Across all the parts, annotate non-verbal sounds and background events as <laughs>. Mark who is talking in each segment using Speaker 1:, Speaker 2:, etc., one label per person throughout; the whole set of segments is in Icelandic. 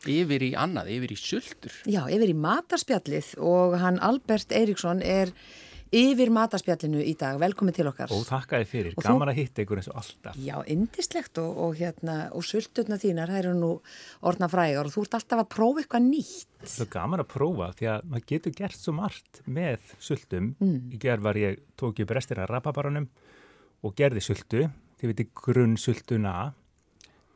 Speaker 1: yfir í annað, yfir í sultur.
Speaker 2: Já, yfir í matarspjallið og hann Albert Eiríksson er yfir matarspjallinu í dag. Velkomin til okkar.
Speaker 3: Og þakka þið fyrir,
Speaker 2: Og þú-
Speaker 3: gaman að hitta ykkur eins og alltaf.
Speaker 2: Já, indislegt og, og, hérna, og sulturna þínar, það eru nú orðna frægar og þú ert alltaf að prófa eitthvað nýtt.
Speaker 3: Það er gaman að prófa því að maður getur gert svo margt með sultum.
Speaker 2: Mm.
Speaker 3: Í gerð var ég, tók ég brestir að rapabaranum og gerði sultu, þið veitir grunn sultuna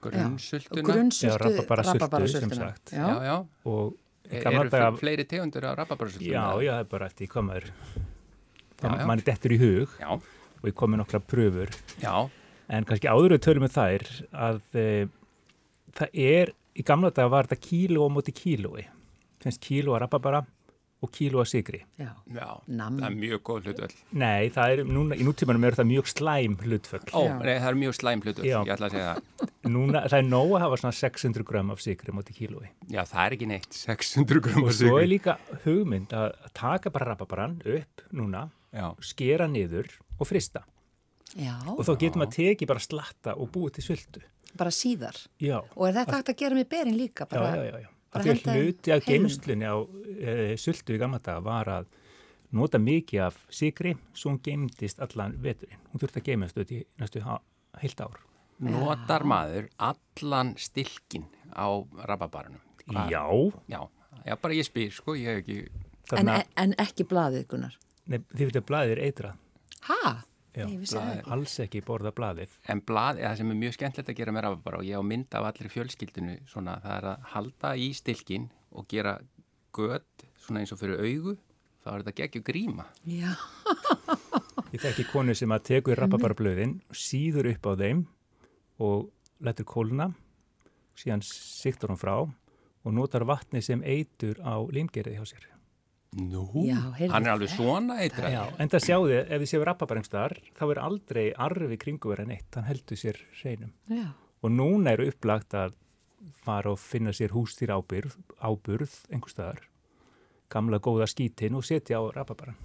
Speaker 1: Grunnsultuna.
Speaker 3: eða
Speaker 2: Grunnsultu,
Speaker 3: rababarasultu, sem
Speaker 2: rababarasultuna.
Speaker 3: sagt.
Speaker 2: Já.
Speaker 1: Já, já.
Speaker 3: og í
Speaker 1: Er,
Speaker 3: gamla
Speaker 1: E, eru
Speaker 3: daga-
Speaker 1: fle- fleiri tegundur af rababarsultuna?
Speaker 3: Já, já, það er bara eftir hvað maður,
Speaker 1: Já, já.
Speaker 3: mann er dettur í hug
Speaker 1: Já,
Speaker 3: og ég kom með nokkla pröfur.
Speaker 1: já,
Speaker 3: En kannski áður við tölum með þær að e, það er, í gamla dag var þetta kíló á móti kílói. Finnst kíló að rababara og kíló að sigri.
Speaker 2: Já.
Speaker 1: já.
Speaker 2: Nam.
Speaker 1: Það er mjög góð hlutvöld.
Speaker 3: Nei, það er, núna, í nútímanum eru það mjög slæm hlutföll.
Speaker 1: Ó,
Speaker 2: Já.
Speaker 1: nei, það er mjög slæm hlutvöld,
Speaker 3: Já.
Speaker 1: ég ætla að segja það.
Speaker 3: Núna, það er nóg að hafa svona 600 gram af sigri móti kílói.
Speaker 1: Já, það er ekki neitt, 600 grömmar
Speaker 3: Og svo er
Speaker 1: sigur.
Speaker 3: líka hugmynd að að taka bara rababaran upp núna,
Speaker 1: Já,
Speaker 3: skera niður og frista.
Speaker 2: Já,
Speaker 3: Og þá getur maður tekið bara slatta og búið til svöldu.
Speaker 2: bara síðar.
Speaker 3: Já,
Speaker 2: Og er þetta hægt að gera með berin líka?
Speaker 3: já,
Speaker 2: Bara,
Speaker 3: já, já. já.
Speaker 2: bara
Speaker 3: Af Því
Speaker 2: henda
Speaker 3: að hluti af
Speaker 2: heilum.
Speaker 3: geimslunni á e, svöldu í gamla daga var að nota mikið af sigri svo hún geimdist allan veturinn. Hún þurfti að geimast auðvitað í næstu ha- heilt ár.
Speaker 1: notar maður allan stilkin á rababarunum. Hvað-
Speaker 3: Já,
Speaker 1: Já, já, bara ég spyr, sko, ég hef ekki...
Speaker 2: En, e-
Speaker 3: þannig að
Speaker 2: en ekki blaðið, Gunnar.
Speaker 3: nei, þið veitir að blaðið er eitrað.
Speaker 2: Hæ?
Speaker 3: Já,
Speaker 2: Nei, vissi það
Speaker 1: blaðið.
Speaker 2: ekki.
Speaker 3: Alls ekki borða blaðið.
Speaker 1: En blað, eða það sem er mjög skemmtilegt að gera með rababara og ég á mynd af allir fjölskyldinu svona, það er að halda í stilkin og gera gött svona eins og fyrir augu, þá er þetta geggjur gríma.
Speaker 2: Já,
Speaker 3: Ég þekki konu sem að
Speaker 2: Mhm.
Speaker 3: tekur rapabarablöðin, síður upp á þeim og lætur kólna, síðan siktar hún frá og notar vatni sem eitur á limgerið hjá sér.
Speaker 1: Nú,
Speaker 2: Já, heyrðu,
Speaker 1: hann er alveg svona
Speaker 3: Já,
Speaker 1: eitthvað.
Speaker 3: en það sjáðu, ef þið séu rapabarengstaðar, þá er aldrei arfi kringuverðan eitt, hann heldur sér hreinum.
Speaker 2: já.
Speaker 3: Og núna eru upplagt að fara og finna sér hústýr ábyrð, áburð einhver staðar, gamla góða skítin og setja á rapabaran.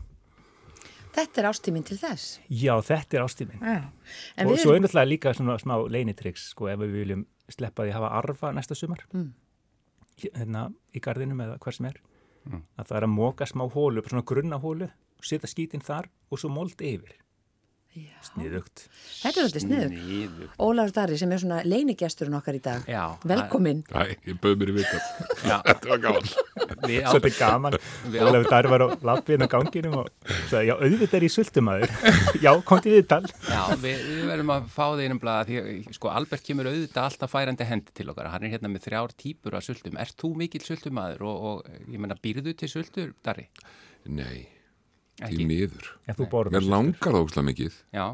Speaker 2: Þetta er ástíminn til þess.
Speaker 3: Já, þetta er ástíminn.
Speaker 2: Já. En
Speaker 3: og
Speaker 2: við
Speaker 3: svo er
Speaker 2: erum,
Speaker 3: náttúrulega líka svona smá leinitryggs sko ef við viljum sleppa því að hafa arfa næsta sumar
Speaker 2: Mm.
Speaker 3: hérna í gardinum eða hver sem er
Speaker 1: Mm.
Speaker 3: að það er að móka smá hólu, bara svona grunna hólu setja skítinn þar og svo mold yfir sniðugt
Speaker 2: þetta er alltaf sniður.
Speaker 1: Niður.
Speaker 2: Ólafur Darri sem er svona leinigesturinn okkar í dag.
Speaker 1: Já.
Speaker 2: Velkomin.
Speaker 4: Æ, ég bauð mér í vikan. <laughs>
Speaker 1: Já,
Speaker 4: Þetta var gaman.
Speaker 1: við á,
Speaker 3: svolítið gaman,
Speaker 1: <laughs> Við
Speaker 3: Ólafur Darri var á lappinu á ganginum og sagði, já, auðvitað er ég sultumæður <laughs> já, kom til viðtal
Speaker 1: já við, við verðum að fá þeir um blaða því að, sko Albert kemur auðvitað alltaf færandi hendi til okkar. Hann er hérna með þrjár típur af sultum. Ert þú mikill sultumadur og, og ég menna býrðu til sultur, Darri?
Speaker 4: Nei,
Speaker 1: Ekki.
Speaker 4: því miður.
Speaker 3: en þú borður
Speaker 4: Mér langar það ógslag mikið
Speaker 1: Já,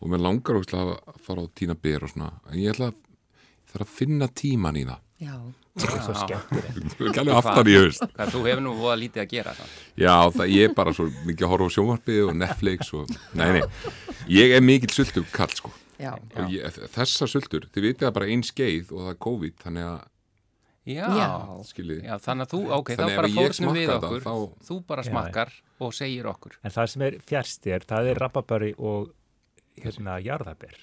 Speaker 4: og mér langar ógslag að fara á tína ber og svona. En ég ætla að, þarf að finna tíman í það.
Speaker 2: Já.
Speaker 3: svo skemmtilegt
Speaker 4: Þú er gælu aftan í haust.
Speaker 1: hvað þú hefur nú voða lítið að gera þannig.
Speaker 4: Já, það, ég er bara svo mikið að horfa á sjónvarpið og Netflix og... Nei, nei, ég er mikill sultur kall, sko.
Speaker 2: Já.
Speaker 4: Og Ég, þessar sultur, þið vitið að bara einn skeið og það er COVID, þannig að
Speaker 1: Já,
Speaker 2: Já.
Speaker 4: skiljið.
Speaker 1: Já, þannig að þú, ok, þá
Speaker 4: Þannig ef
Speaker 1: bara
Speaker 4: ég
Speaker 1: fórnum
Speaker 4: smakka
Speaker 1: við
Speaker 4: þetta,
Speaker 1: okkur,
Speaker 4: þá-
Speaker 1: þú bara smakkar og segir okkur.
Speaker 3: en það sem er fjærstir, það er rababari og hérna jarðaber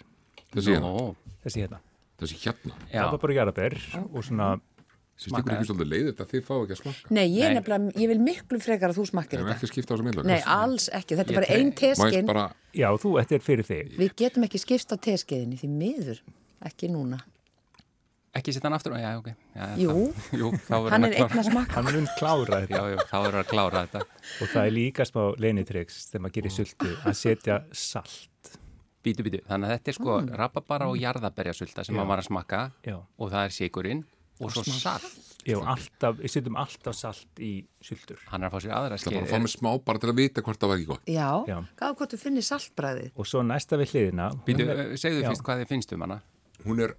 Speaker 4: Þessi hérna,
Speaker 1: Ó,
Speaker 3: þessi hérna
Speaker 4: þessi hérna.
Speaker 1: já,
Speaker 3: Það var bara jarðabær og svona,
Speaker 4: Sýst ykkur ekki svolítið leiðið þetta, þið fá ekki að smakka.
Speaker 2: Nei, ég, er
Speaker 1: Nei.
Speaker 2: Nefnilega, ég vil miklu frekar að þú smakkir
Speaker 4: Ef
Speaker 2: þetta.
Speaker 4: ekki að skipta á þessu milla.
Speaker 2: Nei, alls ekki. Þetta er
Speaker 1: Ég
Speaker 2: bara ein
Speaker 4: Mæst
Speaker 2: teskin.
Speaker 4: bara,
Speaker 3: já, þú, þetta er fyrir þig.
Speaker 2: Við getum ekki skipst á teskeiðinni því miður. Ekki núna.
Speaker 1: ekki setja hann aftur, já, ok. Já,
Speaker 2: Jú.
Speaker 1: það- Jú, þá <laughs> verður
Speaker 2: Hann
Speaker 1: hann
Speaker 2: er
Speaker 1: að
Speaker 2: eigna
Speaker 1: klára.
Speaker 2: smakka.
Speaker 3: Hann mun klára þetta
Speaker 1: <laughs> Já, jú, þá verður hann að klára þetta.
Speaker 3: og það er líka smá leinitryggs þegar maður gerir sultu að setja salt.
Speaker 1: Bítu, bítu, þannig að þetta er sko rababara og jarðaberjasulta sem hann var að smakka
Speaker 3: Já.
Speaker 1: og það er sigurinn og svo salt.
Speaker 3: Já, alltaf, við setjum alltaf salt í sultur
Speaker 1: Hann er að fá sér aðra
Speaker 4: það er bara að fá
Speaker 1: skeið.
Speaker 4: með smá bara til að vita hvort það var ekki gott.
Speaker 2: Já.
Speaker 3: Já.
Speaker 2: Gáðu hvort þú finnir saltbræðið.
Speaker 3: og svo næsta við hliðina. hún
Speaker 1: Bítu,
Speaker 3: er-
Speaker 1: Eh, segðu
Speaker 3: Já.
Speaker 1: fyrst hvað þið finnst um hana.
Speaker 4: hún er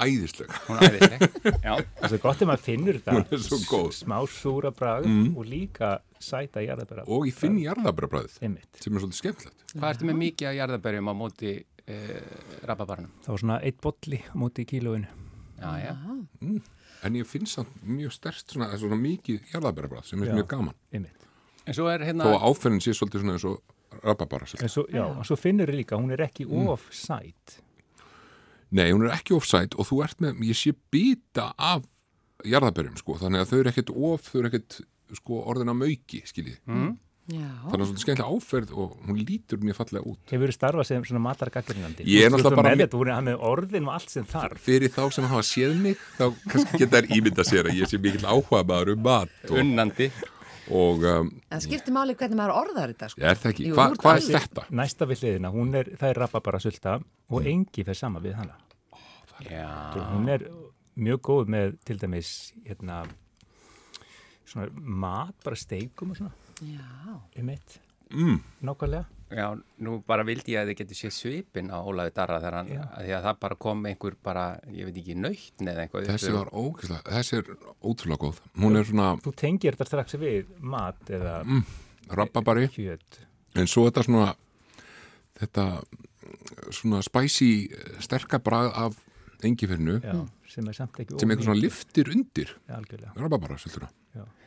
Speaker 4: æðisleg
Speaker 1: Hún er æðisleg. Já,
Speaker 3: Það er gott ef maður finnur
Speaker 4: eh, Hún er
Speaker 3: það,
Speaker 4: svo góð Mm.
Speaker 3: smá súra bragð og líka sæta jarðabæra.
Speaker 4: og ég finn jarðabræðið
Speaker 3: Einmitt.
Speaker 4: sem er svolítið skemmtilegt
Speaker 1: hvað ertu með mikið af jarðaberjum á móti eh, rababaranum?
Speaker 3: Það var svona eitt bolli á móti í kílóinu.
Speaker 1: Já, já.
Speaker 4: en ég finn samt mjög stert svona, svona mikið jarðabræðið sem er mjög gaman
Speaker 3: Einmitt.
Speaker 1: En svo er hérna...
Speaker 4: þó að áferðin sé svolítið svona eins og rababara Mm.
Speaker 3: En svo, já, og svo finnur líka, hún er ekki of sæt.
Speaker 4: Nei, hún er ekki offside og þú ert með, ég sé býta af jarðabörjum sko, þannig að þau eru ekkert of, þau eru ekkert sko orðin að mauki, skiljið.
Speaker 2: Já,
Speaker 4: Þannig að svona skemmtilega áferð og hún lítur mjög fallega út.
Speaker 3: Hefur verið starfað sem svona matargagrinandi
Speaker 4: Ég er náttúrulega bara
Speaker 3: með
Speaker 4: mjög-
Speaker 3: þetta, hún er hann með orðin og allt sem þarf
Speaker 4: Fyrir þá sem hafa séð mig, þá kannski geta þær ímynda sér að ég sé mikill áhuga maður um mat og,
Speaker 1: unnandi
Speaker 4: og um,
Speaker 2: en skiptir máli hvernig maður orðar þetta sko.
Speaker 4: er það ekki,
Speaker 2: Jú,
Speaker 4: Hva,
Speaker 2: þú ert
Speaker 4: hvað er
Speaker 2: alveg-
Speaker 4: þetta?
Speaker 3: Næsta við hliðina, hún er, það er rababara sulta
Speaker 4: Mm.
Speaker 3: og engi fer sama við hana
Speaker 1: Já,
Speaker 4: Ah.
Speaker 3: hún er mjög góð með til dæmis hérna svona mat, bara steikum og svona
Speaker 2: Já,
Speaker 3: um eitt,
Speaker 4: Mm.
Speaker 3: nákvæmlega
Speaker 1: já, nú bara vildi ég að þið getur séð svipin á Ólafi Darra þegar hann, að því að það bara kom einhver bara, ég veit ekki, nöytn eða eitthvað.
Speaker 4: Þessi var ógæslega, þessi er ótrúlega góð. Hún er svona
Speaker 3: þú tengir þetta strax við mat eða
Speaker 4: Mm. rababari,
Speaker 3: kjöt
Speaker 4: en svo þetta svona, þetta svona spicy sterkabrað af engifernu
Speaker 3: já, sem er samt ekki
Speaker 4: sem eitthvað
Speaker 3: ómikið.
Speaker 4: svona liftir undir
Speaker 3: algjörlega
Speaker 4: rababara, svolítuna.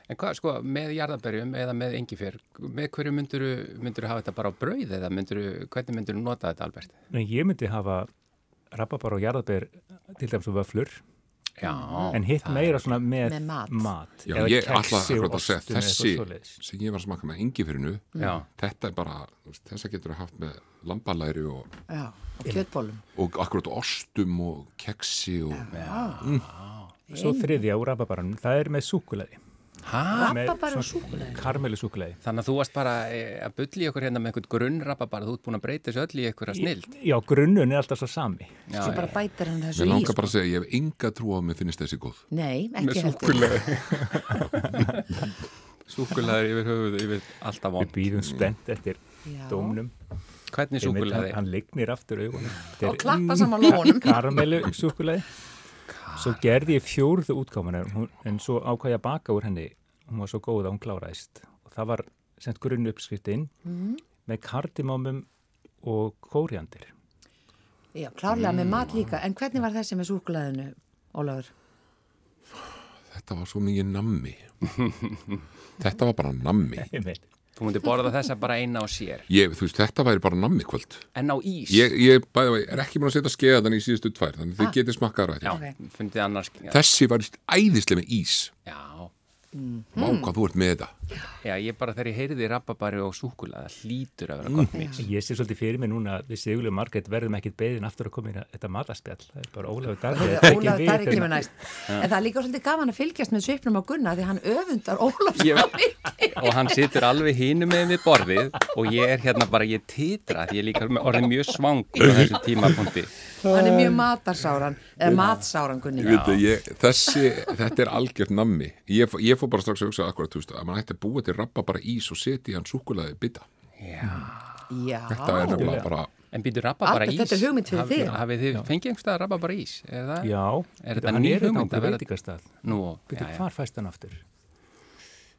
Speaker 1: En hvað, sko, með jarðaberjum eða með engifer, með hverju mynduru, mynduru hafa þetta bara á brauð eða mynduru, hvernig mynduru nota þetta, Albert?
Speaker 3: Nei, ég myndi hafa rababar og jarðabær til dæmis og vöflur
Speaker 1: Já,
Speaker 3: en hitt meira svona með,
Speaker 2: Með mat.
Speaker 4: Já,
Speaker 3: eða
Speaker 4: ég
Speaker 3: kexi
Speaker 4: ætla
Speaker 3: og
Speaker 4: akkurat að segja
Speaker 3: ostum eða
Speaker 4: þessi
Speaker 3: eitthvað svoleiðis.
Speaker 4: sem ég var að smaka með engifyrinu
Speaker 1: Mm. já,
Speaker 4: þetta er bara, þú veist, þessa getur að haft með lambalæri og,
Speaker 2: já, og kjötbólum.
Speaker 4: og akkurat ostum og keksi og
Speaker 3: svo þriðja úr rababaranum, það er með súkulaði
Speaker 1: hæ?
Speaker 2: Rababari og súkkulaði.
Speaker 3: karmelu súkulaði
Speaker 1: Þannig að þú varst bara eh, að bulli okkur hérna með einhvern grunnrappa bara, þú ert búin að breyta þessu öll í einhverja snild.
Speaker 3: já, grunnun er alltaf svo sami
Speaker 1: Já,
Speaker 2: Svo
Speaker 1: já,
Speaker 2: bara bætir hann þessu
Speaker 4: mér
Speaker 2: í.
Speaker 4: langar
Speaker 2: Sko.
Speaker 4: bara að segja, ég hef enga trú á að mér finnist þessi góð
Speaker 2: Nei, ekki heldur.
Speaker 1: súkulæður yfir höfuð, yfir alltaf
Speaker 3: við
Speaker 1: von.
Speaker 3: býðum spennt eftir
Speaker 2: Já.
Speaker 3: dómnum
Speaker 1: Hvernig
Speaker 3: Einmitt,
Speaker 1: súkulæði?
Speaker 3: hann, hann lignir aftur augunum
Speaker 2: Og klappa saman lónum.
Speaker 3: karmelu súkulaði svo gerði ég fjórðu útgáman en svo ákvað ég að baka úr henni hún var svo góð að hún kláraðist og það var sent grunn uppskriftin
Speaker 2: Mm.
Speaker 3: með kardimámum og kóriandir
Speaker 2: Já, klárlega með mat líka. En hvernig var þessi með súkkulaðinu, Ólafur?
Speaker 4: þetta var svo mikið <laughs> nammi þetta var bara nammi
Speaker 3: Einmitt.
Speaker 1: Þú mútti borða þessa bara eina á sér,
Speaker 4: ég, þú veist, þetta væri bara nammi kvöld
Speaker 1: en á ís.
Speaker 4: ég, ég bæði, vei, er ekki búin að setja skeða þannig í síðustu tvær, þannig þið getið smakkað rætt
Speaker 1: Já,
Speaker 2: Ok.
Speaker 1: fundið annars.
Speaker 4: þessi var æðislega með ís
Speaker 1: Já,
Speaker 4: Vá, hvað þú ert með þetta
Speaker 1: já, ég bara þegar ég heyrði rappabari og súkulæði, það hlýtur að vera gott mix.
Speaker 3: Ég sé svolítið fyrir mig núna að við Sigurlega Margrét verðum ekkit beðin aftur að koma inn að þetta mataspjall. Það er bara Ólafur Darri. að tekinn
Speaker 2: Ólafur
Speaker 3: við
Speaker 2: Darri
Speaker 3: hérna.
Speaker 2: kemur næst. En það er líka svolítið gaman að fylgjast með svipnum á Gunna því hann öfundar Ólafur
Speaker 1: Ég- og hann situr alveg hínum með við borðið og ég er hérna bara, ég titra því ég er líka með orðið mjög svangur á þessu tímapunkti
Speaker 2: Hann er mjög matarsáran, eða matsáran Gunni.
Speaker 4: Ég veit að ég, þessi, þetta er algjört nammi ég, fó- ég fór bara strax að hugsa akkurat, þú veist, að maður ætti að búa til rappa bara ís og setja í hann súkulaði bita
Speaker 2: Já,
Speaker 4: þetta er nefnilega bara
Speaker 1: en býtu rabba bara
Speaker 2: Albert,
Speaker 1: ís
Speaker 2: þetta er hugmynd fyrir þig.
Speaker 1: hafið hafið þið fengið einhverstað að rabba bara ís er það?
Speaker 3: Já,
Speaker 1: er þetta
Speaker 3: hann
Speaker 1: ný
Speaker 3: er hérna þetta
Speaker 1: hugmynd
Speaker 3: ákveð
Speaker 1: að vera
Speaker 3: veitingastað.
Speaker 1: nú, já,
Speaker 3: Býtu,
Speaker 1: já.
Speaker 3: hvar fæst hann aftur?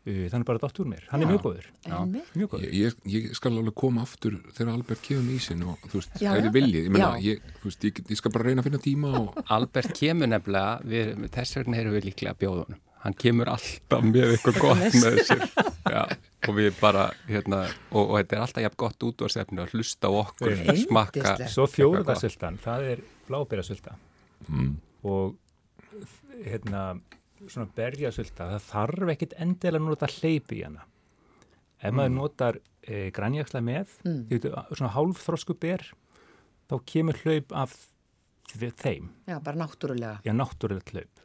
Speaker 3: Uh, Þannig bara dott úr mér. Hann er mjög góður.
Speaker 2: einmitt.
Speaker 3: Mjög góður.
Speaker 4: ég, ég, ég skal alveg koma aftur þegar Albert kefur með ísinn og þú veist,
Speaker 2: Já,
Speaker 4: ef
Speaker 2: já.
Speaker 4: þið viljið ég, menna,
Speaker 2: Já.
Speaker 4: ég, þú veist, ég, ég skal bara reyna að finna tíma og
Speaker 1: Albert kemur nefnilega við, þess vegna erum við líklega að bjóða honum hann kemur alltaf <laughs> með eitthvað gott með sér já, og við bara hérna, og, og þetta er alltaf jafn gott útvarsefni að hlusta á okkur,
Speaker 2: Einmislegt.
Speaker 1: smakka
Speaker 3: Svo fjóruðarsöldan, það er blábærasölda. Og hérna, svona berjasölda, það þarf ekkit endilega að nota hleypi í hana. Ef maður notar e, grænjaksla með, mm. veitu, svona hálf þrosku ber, þá kemur hlaup af þ- þeim.
Speaker 2: já, bara náttúrulega.
Speaker 3: já, náttúrulegt hlaup.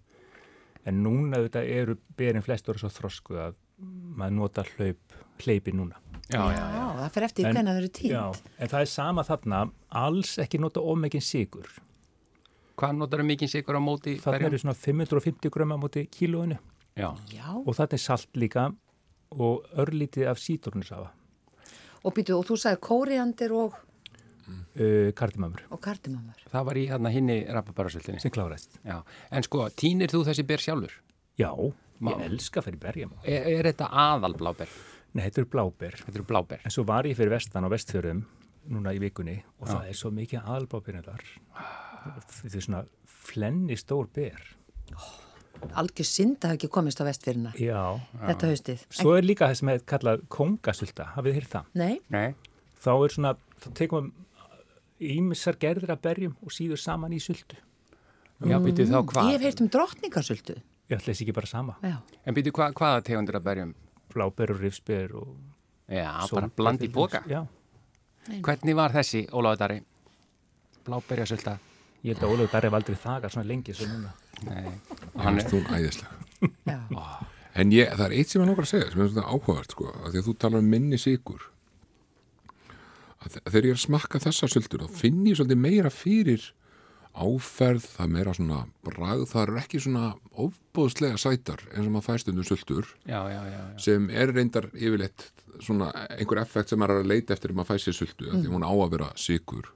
Speaker 3: En núna þetta eru berin flest orðið svo þrosku að maður nota hlaup, hlaupi núna.
Speaker 1: já, já,
Speaker 2: Já, það fer eftir en, hvernig það eru tínt.
Speaker 3: Já, en það er sama þarna, alls ekki nota ómegin sigur.
Speaker 1: hvað notar það mikið sigur á móti
Speaker 3: Þarna
Speaker 1: hverjum?
Speaker 3: eru svona 550 gröma múti kílóinu
Speaker 1: já,
Speaker 2: Já,
Speaker 3: og þarna er salt líka og örlítið af sítrunusafa,
Speaker 2: og býtu, og þú sagði kóriandir og,
Speaker 3: uh, kardimamur,
Speaker 2: og kardimamur.
Speaker 1: það var í hérna hinni rappabarasöldinni
Speaker 3: sem kláraðist.
Speaker 1: Já, en sko, týnir þú þessi ber sjálfur?
Speaker 3: Já, ég elska fyrir berjum.
Speaker 1: Er, er þetta aðal bláber?
Speaker 3: Nei, þetta eru bláber.
Speaker 1: Þetta eru bláber.
Speaker 3: En svo var ég fyrir vestan á vestfjörðum núna í vikunni og það er svo mikið albábyrnir þar. Þetta er svona flenni stór ber.
Speaker 2: Algjör synd að hafa ekki komist á vestfyrina
Speaker 3: Já.
Speaker 2: þetta haustið. En,
Speaker 3: Svo er líka það sem er kallað kongasulta, hafið þið hýrt það?
Speaker 2: nei,
Speaker 1: Nei.
Speaker 3: Þá er svona, þá tekum við ímissar gerðir af berjum og síður saman í sultu.
Speaker 1: Já, býtið þá
Speaker 2: Ég hef
Speaker 1: hvað?
Speaker 2: heyrt um drottningarsöldu.
Speaker 3: Ég ætla þessi ekki bara sama.
Speaker 2: Já.
Speaker 1: En býtið hva, hvaða tegundir að berjum?
Speaker 3: Bláberur, rifsberur og...
Speaker 1: Já, bara
Speaker 3: sólber
Speaker 1: bland í
Speaker 3: til dæmis.
Speaker 1: boka.
Speaker 3: Já,
Speaker 1: Hvernig var þessi, Ólaður Dari? Bláberjasölda?
Speaker 3: ég held að Ólafur Darri hef aldrei þakað svona lengi sem núna.
Speaker 1: Nei,
Speaker 4: hann er hún æðislega.
Speaker 2: Já.
Speaker 4: En ég, það er eitt sem ég langar að segja sem er svona áhugavert sko, að því að þú talar um minni sigur að þe- þegar ég er að smakka þessar söldur þá finn ég svolítið meira fyrir áferð, það er meira svona bragð, það er ekki svona ofbóðslega sætar eins og maður fæst undir söldur
Speaker 1: já, já, já. já.
Speaker 4: sem er reyndar yfirleitt svona einhver effekt sem maður er að leita eftir um að fæsi sultu, mm. því hún á að vera sigur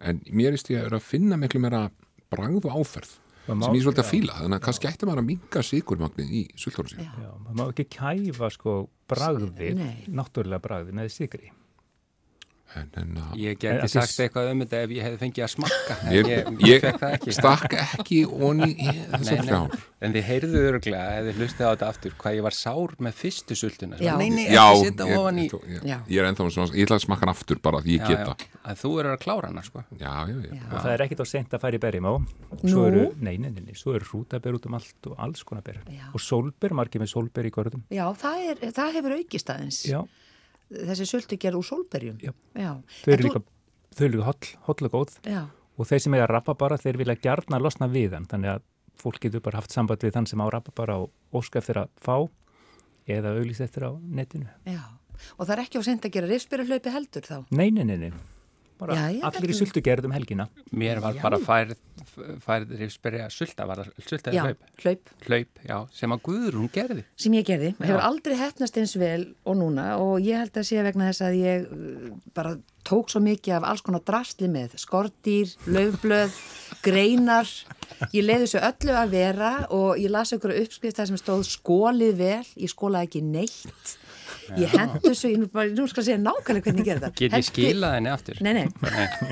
Speaker 4: en mér veist ég að vera að finna miklu meira bragð og áferð
Speaker 3: Maður má-
Speaker 4: sem ég er svolítið að
Speaker 3: já.
Speaker 4: fíla, þannig að kannski ætti maður að minga sigurmagnið í sultunum sín
Speaker 3: Já, maður má ekki kæfa sko bragðið,
Speaker 2: Nei.
Speaker 3: náttúrulega bragðið með sigri.
Speaker 4: en, en uh, að
Speaker 1: Ég
Speaker 3: En
Speaker 1: geti
Speaker 3: að
Speaker 1: sagt
Speaker 3: þess-
Speaker 1: eitthvað um þetta ef ég hefði fengið að smakka. en
Speaker 4: ég,
Speaker 1: ég,
Speaker 4: ég,
Speaker 1: ég fekk það ekki.
Speaker 4: stakk ekki onni í
Speaker 1: <laughs>
Speaker 4: þessar þrjár
Speaker 1: En þið heyrðuð öruglega, ef þið hlustið á þetta aftur, hvað ég var sár með fyrstu sultuna. sko.
Speaker 2: Já.
Speaker 1: Nei, nei,
Speaker 4: Já,
Speaker 1: ekki
Speaker 4: ég,
Speaker 1: setja ofan í...
Speaker 4: ég, ég,
Speaker 2: Já.
Speaker 4: ég er ennþá svona, ég ætla að smakka hann aftur bara því ég
Speaker 1: Já,
Speaker 4: geta
Speaker 1: já, að þú eru að klára hana, sko.
Speaker 4: Já, já, já,
Speaker 3: Og það er ekkit á sent að fara í berjum á. Svo
Speaker 2: Nú?
Speaker 3: eru, nei, nei, nei, nei, svo eru rútaber út um allt og alls konar ber.
Speaker 2: Já.
Speaker 3: Og sólber, margir með sólber í görðum.
Speaker 2: Já, það, er, það hefur aukist aðeins.
Speaker 3: Já,
Speaker 2: Þessi söldu gerð úr sólberjum.
Speaker 3: Já.
Speaker 2: Já.
Speaker 3: þau
Speaker 2: En
Speaker 3: eru líka, þau eru líka holl, holl og góð.
Speaker 2: Já.
Speaker 3: Og þeir sem eiga rababara, þeir vilja gjarna losna við hann. Þannig að fólk getur bara haft samband við þann sem á rababara og óska eftir að fá eða auglýst eftir á netinu.
Speaker 2: Já. Og það er ekki á sent að gera rifsbyrjuhlaupi heldur þá.
Speaker 3: Nei, nei, nei, nei. Bara
Speaker 2: Já, já,
Speaker 3: allir í
Speaker 2: þetta-
Speaker 3: sultugerðum helgina.
Speaker 1: Mér var
Speaker 2: Já.
Speaker 1: bara færð, færð rifsberja sulta, var það sulta
Speaker 2: Já,
Speaker 1: eða hlaup?
Speaker 2: hlaup.
Speaker 1: Hlaup, já, sem að Guðrún gerði.
Speaker 2: sem ég gerði, hefur aldrei hefnast eins vel og núna og ég held að sé vegna þess að ég uh, bara tók svo mikið af alls konar drastli með skortýr, löfblöð, greinar ég leiði þessu öllu að vera og ég las ykkur uppskrift þar sem stóð skólið vel, ég skólaði ekki neitt ég hendu þessu, ég nú, bara, nú skal ég segja nákvæmlega hvernig ég gerði það
Speaker 1: Get ég
Speaker 2: Henti-
Speaker 1: skilað henni aftur?
Speaker 2: Nei, nei.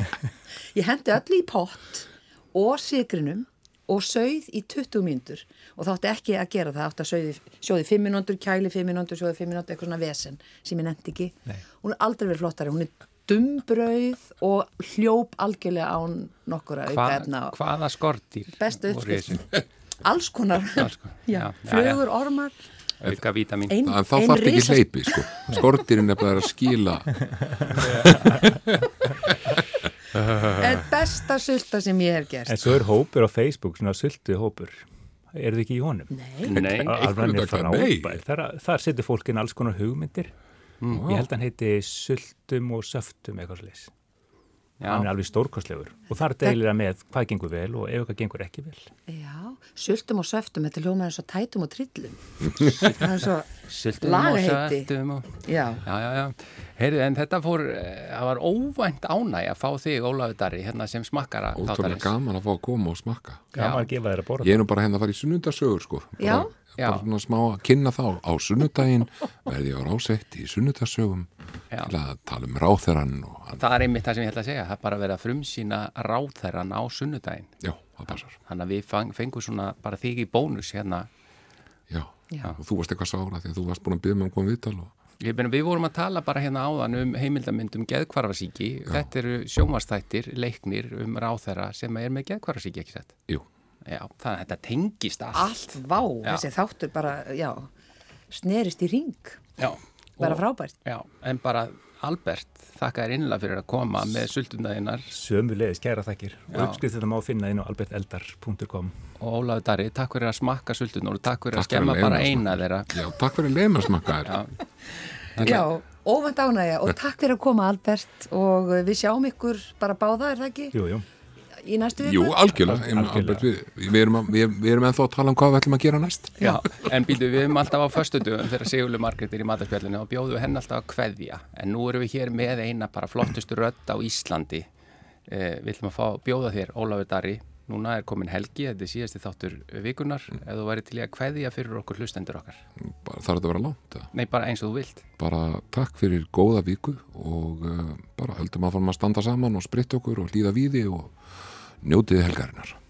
Speaker 2: <laughs> ég hendi öllu í pott og sigrinum og sauð í 20 mínútur og þá átti ekki að gera það, átti að sauði, sjóði 5 mínútur, kæli 5 mínútur, sjóði 5 mínútur, eitthvað svona vesen sem ég nefndi ekki. Nei. Hún er aldrei verið flottari, hún er dumbrauð og hljóp algjörlega án nokkura
Speaker 1: Hva,
Speaker 2: aukaefna. og
Speaker 1: hvaða skortýr?
Speaker 2: Bestu
Speaker 1: voru í
Speaker 2: uppskrift. <laughs> Alls konar.
Speaker 1: Alls konar,
Speaker 2: Já,
Speaker 1: já, já, já.
Speaker 2: flugur, ormar,
Speaker 1: þessu? Auka vítamin.
Speaker 2: ein,
Speaker 4: en þá
Speaker 2: ein
Speaker 4: þarf ekki
Speaker 2: risas-
Speaker 4: hleypi <laughs> sko. skortirinn er bara að skila
Speaker 2: En besta sulta sem ég hef
Speaker 3: En
Speaker 2: gert.
Speaker 3: svo er hópur á Facebook, svona sultu hópur. Er þið ekki í honum?
Speaker 2: Nei,
Speaker 1: Nei,
Speaker 3: Að- að
Speaker 4: einhvern
Speaker 3: hann er
Speaker 4: veginn, nei.
Speaker 3: frábær. Þar, þar setur fólkin alls konar hugmyndir. Ég held að hann heiti sultum og söftum eitthvað sliðis. Hann er
Speaker 1: já,
Speaker 3: alveg stórkostlegur. Og þar deilir það með hvað gengur vel og ef eitthvað gengur ekki vel.
Speaker 2: Já, sultum og söftum, þetta hljómaður svo tætum og trillum. það er svo,
Speaker 1: sultum og
Speaker 2: Lagaheiti.
Speaker 1: söttum og...
Speaker 2: já,
Speaker 1: Já, já, já. Heyrðu, en þetta fór, eh, það var óvænt ánæg að fá þig, Ólafur Darri, hérna sem smakkara.
Speaker 4: ótrúlega
Speaker 1: þáttarins.
Speaker 4: gaman að fá að koma og smakka
Speaker 3: Gaman að gefa þér að borða.
Speaker 4: Ég er nú bara hérna að fara í sunnudasögur sko. Bara,
Speaker 2: Já.
Speaker 1: Já.
Speaker 4: Bara svona smá að kynna þá á sunnudaginn
Speaker 2: <laughs>
Speaker 4: verði ég á rásett í sunnudasögum
Speaker 1: Já.
Speaker 4: til að tala um ráþerann og hann.
Speaker 1: Það er einmitt það sem ég ætla að segja, það er bara að vera að frumsýna ráþæran á sunnudaginn.
Speaker 4: Já, það passar.
Speaker 1: Þannig að við fang, fengum svona bara þig í bónus hérna.
Speaker 4: Já.
Speaker 2: Já.
Speaker 4: Og þú varst eitthvað sára því að þú varst búin að byggja með um komið viðtal og
Speaker 1: Ég meina, við vorum að tala bara hérna áðan um heimildamyndum geðkvarfasíki. Þetta eru sjónvastættir, leiknir um ráþæra sem er með geðkvarfasíki, ekki sett?
Speaker 4: jú.
Speaker 1: Já, þannig að þetta tengist allt.
Speaker 2: allt vá,
Speaker 1: Já.
Speaker 2: þessi þáttur bara, já, snerist í ring,
Speaker 1: Já.
Speaker 2: bara
Speaker 1: Og-
Speaker 2: frábært.
Speaker 1: Já, en bara Albert, þakka þér innlega fyrir að koma með sultundaðinnar
Speaker 3: Sömu leiðis, kæra þakkir.
Speaker 1: Já.
Speaker 3: Og uppskriftina má finna inn á alberteldar.com.
Speaker 1: og Ólaður Darri, takk fyrir að smakka sultunar og takk fyrir
Speaker 4: Takk
Speaker 1: að skemma
Speaker 4: fyrir að
Speaker 1: bara
Speaker 4: leyfa mér
Speaker 1: eina þeirra.
Speaker 4: Já, takk fyrir að leiðum að smakka þér.
Speaker 2: Já, óvænt ánægja og takk fyrir að koma Albert og við sjáum ykkur bara báða, er það ekki,
Speaker 3: Jú, jú.
Speaker 2: í næstu viku?
Speaker 4: Jú, algjörlega. Ég meina,
Speaker 3: Algjörlega.
Speaker 4: Albert, Við, við, erum að, við, við erum ennþá að tala um hvað við ætlum að gera næst.
Speaker 1: Já, en býtu við um alltaf á föstudöfum þegar Sigurlu Margrét er í mataspjallinu og bjóðu henn alltaf að kveðja. En nú erum við hér með eina bara flottustu rödd á Íslandi. Eh, við ætlum að fá bjóða þér, Ólafur Darri. Núna er komin helgi, þetta er síðasti þáttur vikunar. Ef þú væri til í að kveðja fyrir okkur hlustendur okkar.
Speaker 4: Bara, þarf þetta að vera langt. eða?
Speaker 1: Nei, bara eins og þú vilt.
Speaker 4: Bara takk fyrir góða viku og eh, uh, bara höldum að fara að standa saman og spritta okkur og líða víði og njótiði helgarinnar.